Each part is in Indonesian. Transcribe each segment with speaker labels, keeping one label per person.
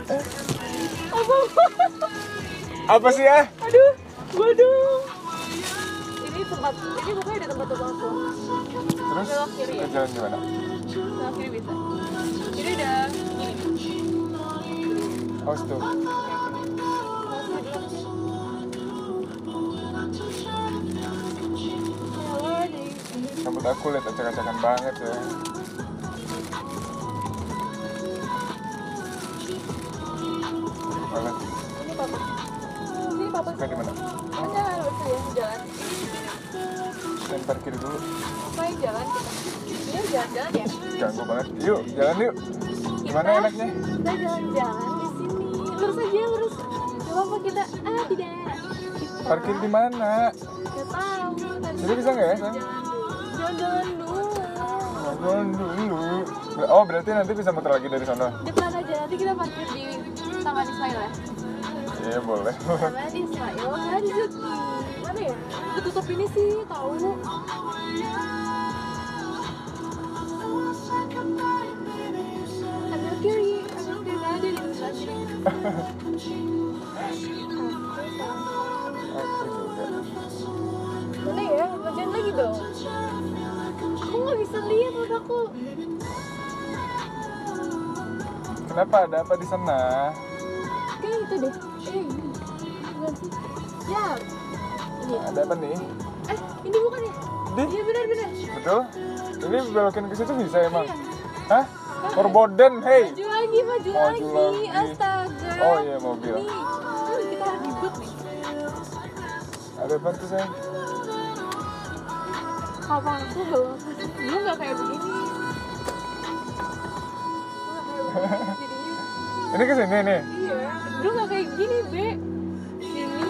Speaker 1: Apa?
Speaker 2: Apa sih ya?
Speaker 1: Aduh, waduh. Ini tempat, ini pokoknya ada tempat tempat aku.
Speaker 2: Terus
Speaker 1: Belok kiri ya?
Speaker 2: kita jalan gimana?
Speaker 1: Nah, kiri bisa. Jadi ada gini.
Speaker 2: Oh situ. Rambut aku lihat acak-acakan banget ya. Banget.
Speaker 1: Ini papa. Ini papa.
Speaker 2: Kita di mana?
Speaker 1: Ada lucu ya jalan.
Speaker 2: Kita parkir dulu.
Speaker 1: Apa yang jalan kita? Ini jalan-jalan ya.
Speaker 2: Ganggu banget. Yuk, jalan yuk. Gimana
Speaker 1: Kita-
Speaker 2: enaknya?
Speaker 1: Kita Iya, jalan-jalan di sini. Lurus aja lurus. Gak apa-apa kita. Ah tidak. Kita-
Speaker 2: Parkir di mana?
Speaker 1: Gak tahu. Tadi
Speaker 2: Jadi bisa nggak ya, Sam?
Speaker 1: jalan dulu. Jalan-jalan dulu.
Speaker 2: Jalan dulu. Oh berarti nanti bisa muter lagi dari sana?
Speaker 1: Depan aja nanti kita parkir di Taman Ismail ya.
Speaker 2: Iya boleh.
Speaker 1: Taman Ismail kan di mana ya? Ketutup ini sih tahu. Ambil kiri, ambil kiri aja di sebelah kiri.
Speaker 2: Aku juga.
Speaker 1: Mana ya? Lanjutin lagi dong. Aku nggak bisa lihat aku.
Speaker 2: Kenapa ada apa di sana?
Speaker 1: Kayak itu deh. Eh, ini. Bukan sih. Ya. Ini.
Speaker 2: Ada apa nih?
Speaker 1: Eh, ini bukan ya?
Speaker 2: Di?
Speaker 1: Iya benar-benar.
Speaker 2: Betul? Ini belokin ke situ bisa emang?
Speaker 1: Iya.
Speaker 2: Hah? Forboden, hey!
Speaker 1: Maju lagi, maju,
Speaker 2: Maju
Speaker 1: lagi.
Speaker 2: lagi.
Speaker 1: Astaga.
Speaker 2: Oh iya, mobil.
Speaker 1: Nih, aduh, kita ribut nih.
Speaker 2: Ada apa tuh sayang?
Speaker 1: Kapan aku belum? Lu nggak kayak begini. Lu nggak kayak begini, jadinya.
Speaker 2: Ini ke sini nih.
Speaker 1: Iya. Lu nggak kayak gini, Be. Sini.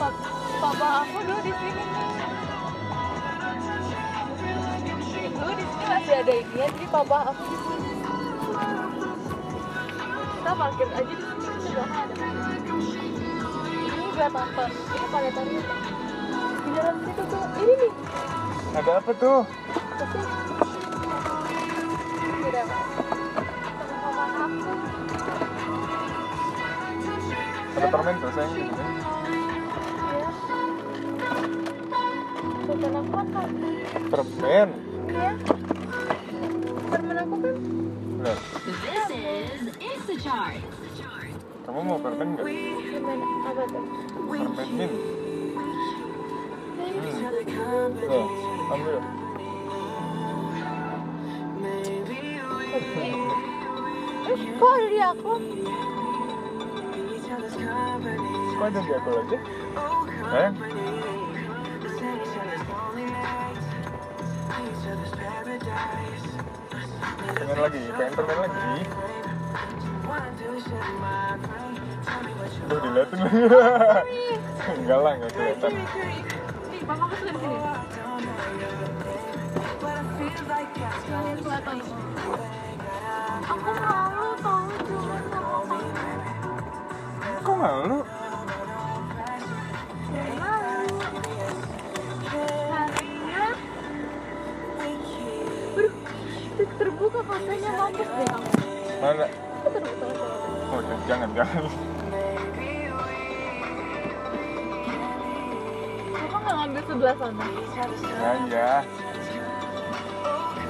Speaker 1: Pa- Papa aku dulu di sini. Dulu di sini masih ada ini, jadi papa aku di sini. Kita parkir aja di sini, sebelahnya ada. Ini Gladiator, ini planetarium. Di dalam situ tuh, ini nih.
Speaker 2: Ada apa tuh?
Speaker 1: Tapi- Beda banget. Sama papa aku.
Speaker 2: Ada permen tuh sayang. Gitu.
Speaker 1: Iya. Bukan aku apa?
Speaker 2: Permen?
Speaker 1: Iya. Temen aku kan
Speaker 2: Lihat.
Speaker 3: This is It's a Chart.
Speaker 2: Kamu mau permen nggak?
Speaker 1: temen apa tuh?
Speaker 2: Permen min. Hmm. Nih, ambil.
Speaker 1: Eh, kok ada di aku?
Speaker 2: Kok ada di aku lagi? Sayang? Pengen lagi, pengen permen lagi. Duh, diliatin lagi. enggak lah, enggak kelihatan.
Speaker 1: Nih, papa aku suka di sini. Sekalian kelihatan. Aku malu tau cuma sama kamu.
Speaker 2: Kok malu?
Speaker 1: Malu. Karena Aduh, terbuka fotonya mampus deh kamu.
Speaker 2: Mana?
Speaker 1: Aku terbuka fotonya.
Speaker 2: Oh, jangan, jangan.
Speaker 1: Kenapa kan nggak ngambil sebelah sana?
Speaker 2: Ya, ya.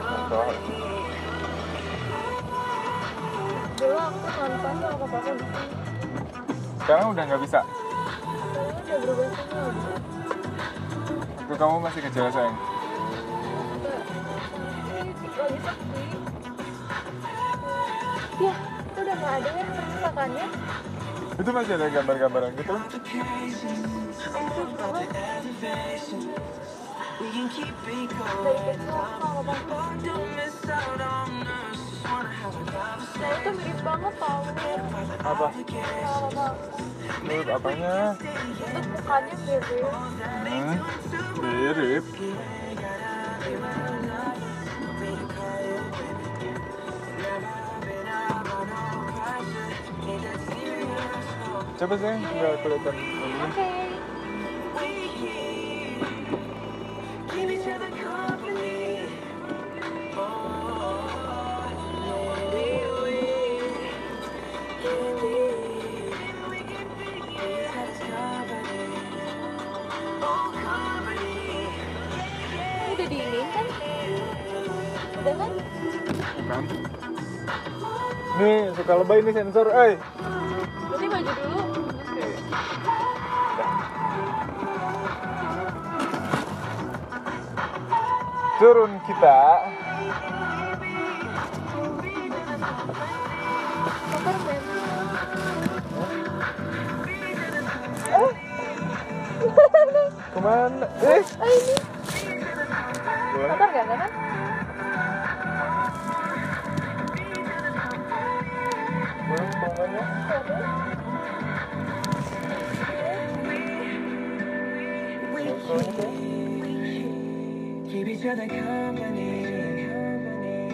Speaker 2: Betul.
Speaker 1: Dulu aku nonton sama papa aku di sini.
Speaker 2: Sekarang udah nggak bisa.
Speaker 1: Sekarang udah berubah semua. Bu.
Speaker 2: Itu kamu masih kecil sayang.
Speaker 1: Lagi sepi. Ya, itu udah nggak ada yang masakannya.
Speaker 2: Itu masih ada gambar-gambaran gitu.
Speaker 1: Dari kecil aku sama papa aku. Nah, itu mirip banget tau. Sama
Speaker 2: Apa?
Speaker 1: papa aku.
Speaker 2: Menurut apanya?
Speaker 1: Bentuk mukanya mirip.
Speaker 2: Hmm, mirip. Coba sayang, nggak kelihatan.
Speaker 1: Oke. ada kan?
Speaker 2: Bukan. Nih, suka lebay nih sensor, eh.
Speaker 1: Berarti baju dulu. terus kayak-
Speaker 2: Turun kita.
Speaker 1: Kotor Ben.
Speaker 2: Kemana? Eh,
Speaker 1: Oh ini
Speaker 2: boleh.
Speaker 1: kotor gak kan?
Speaker 2: Boleh kemana?
Speaker 1: Kotor.
Speaker 2: Boleh, boleh.
Speaker 4: Keep each other company.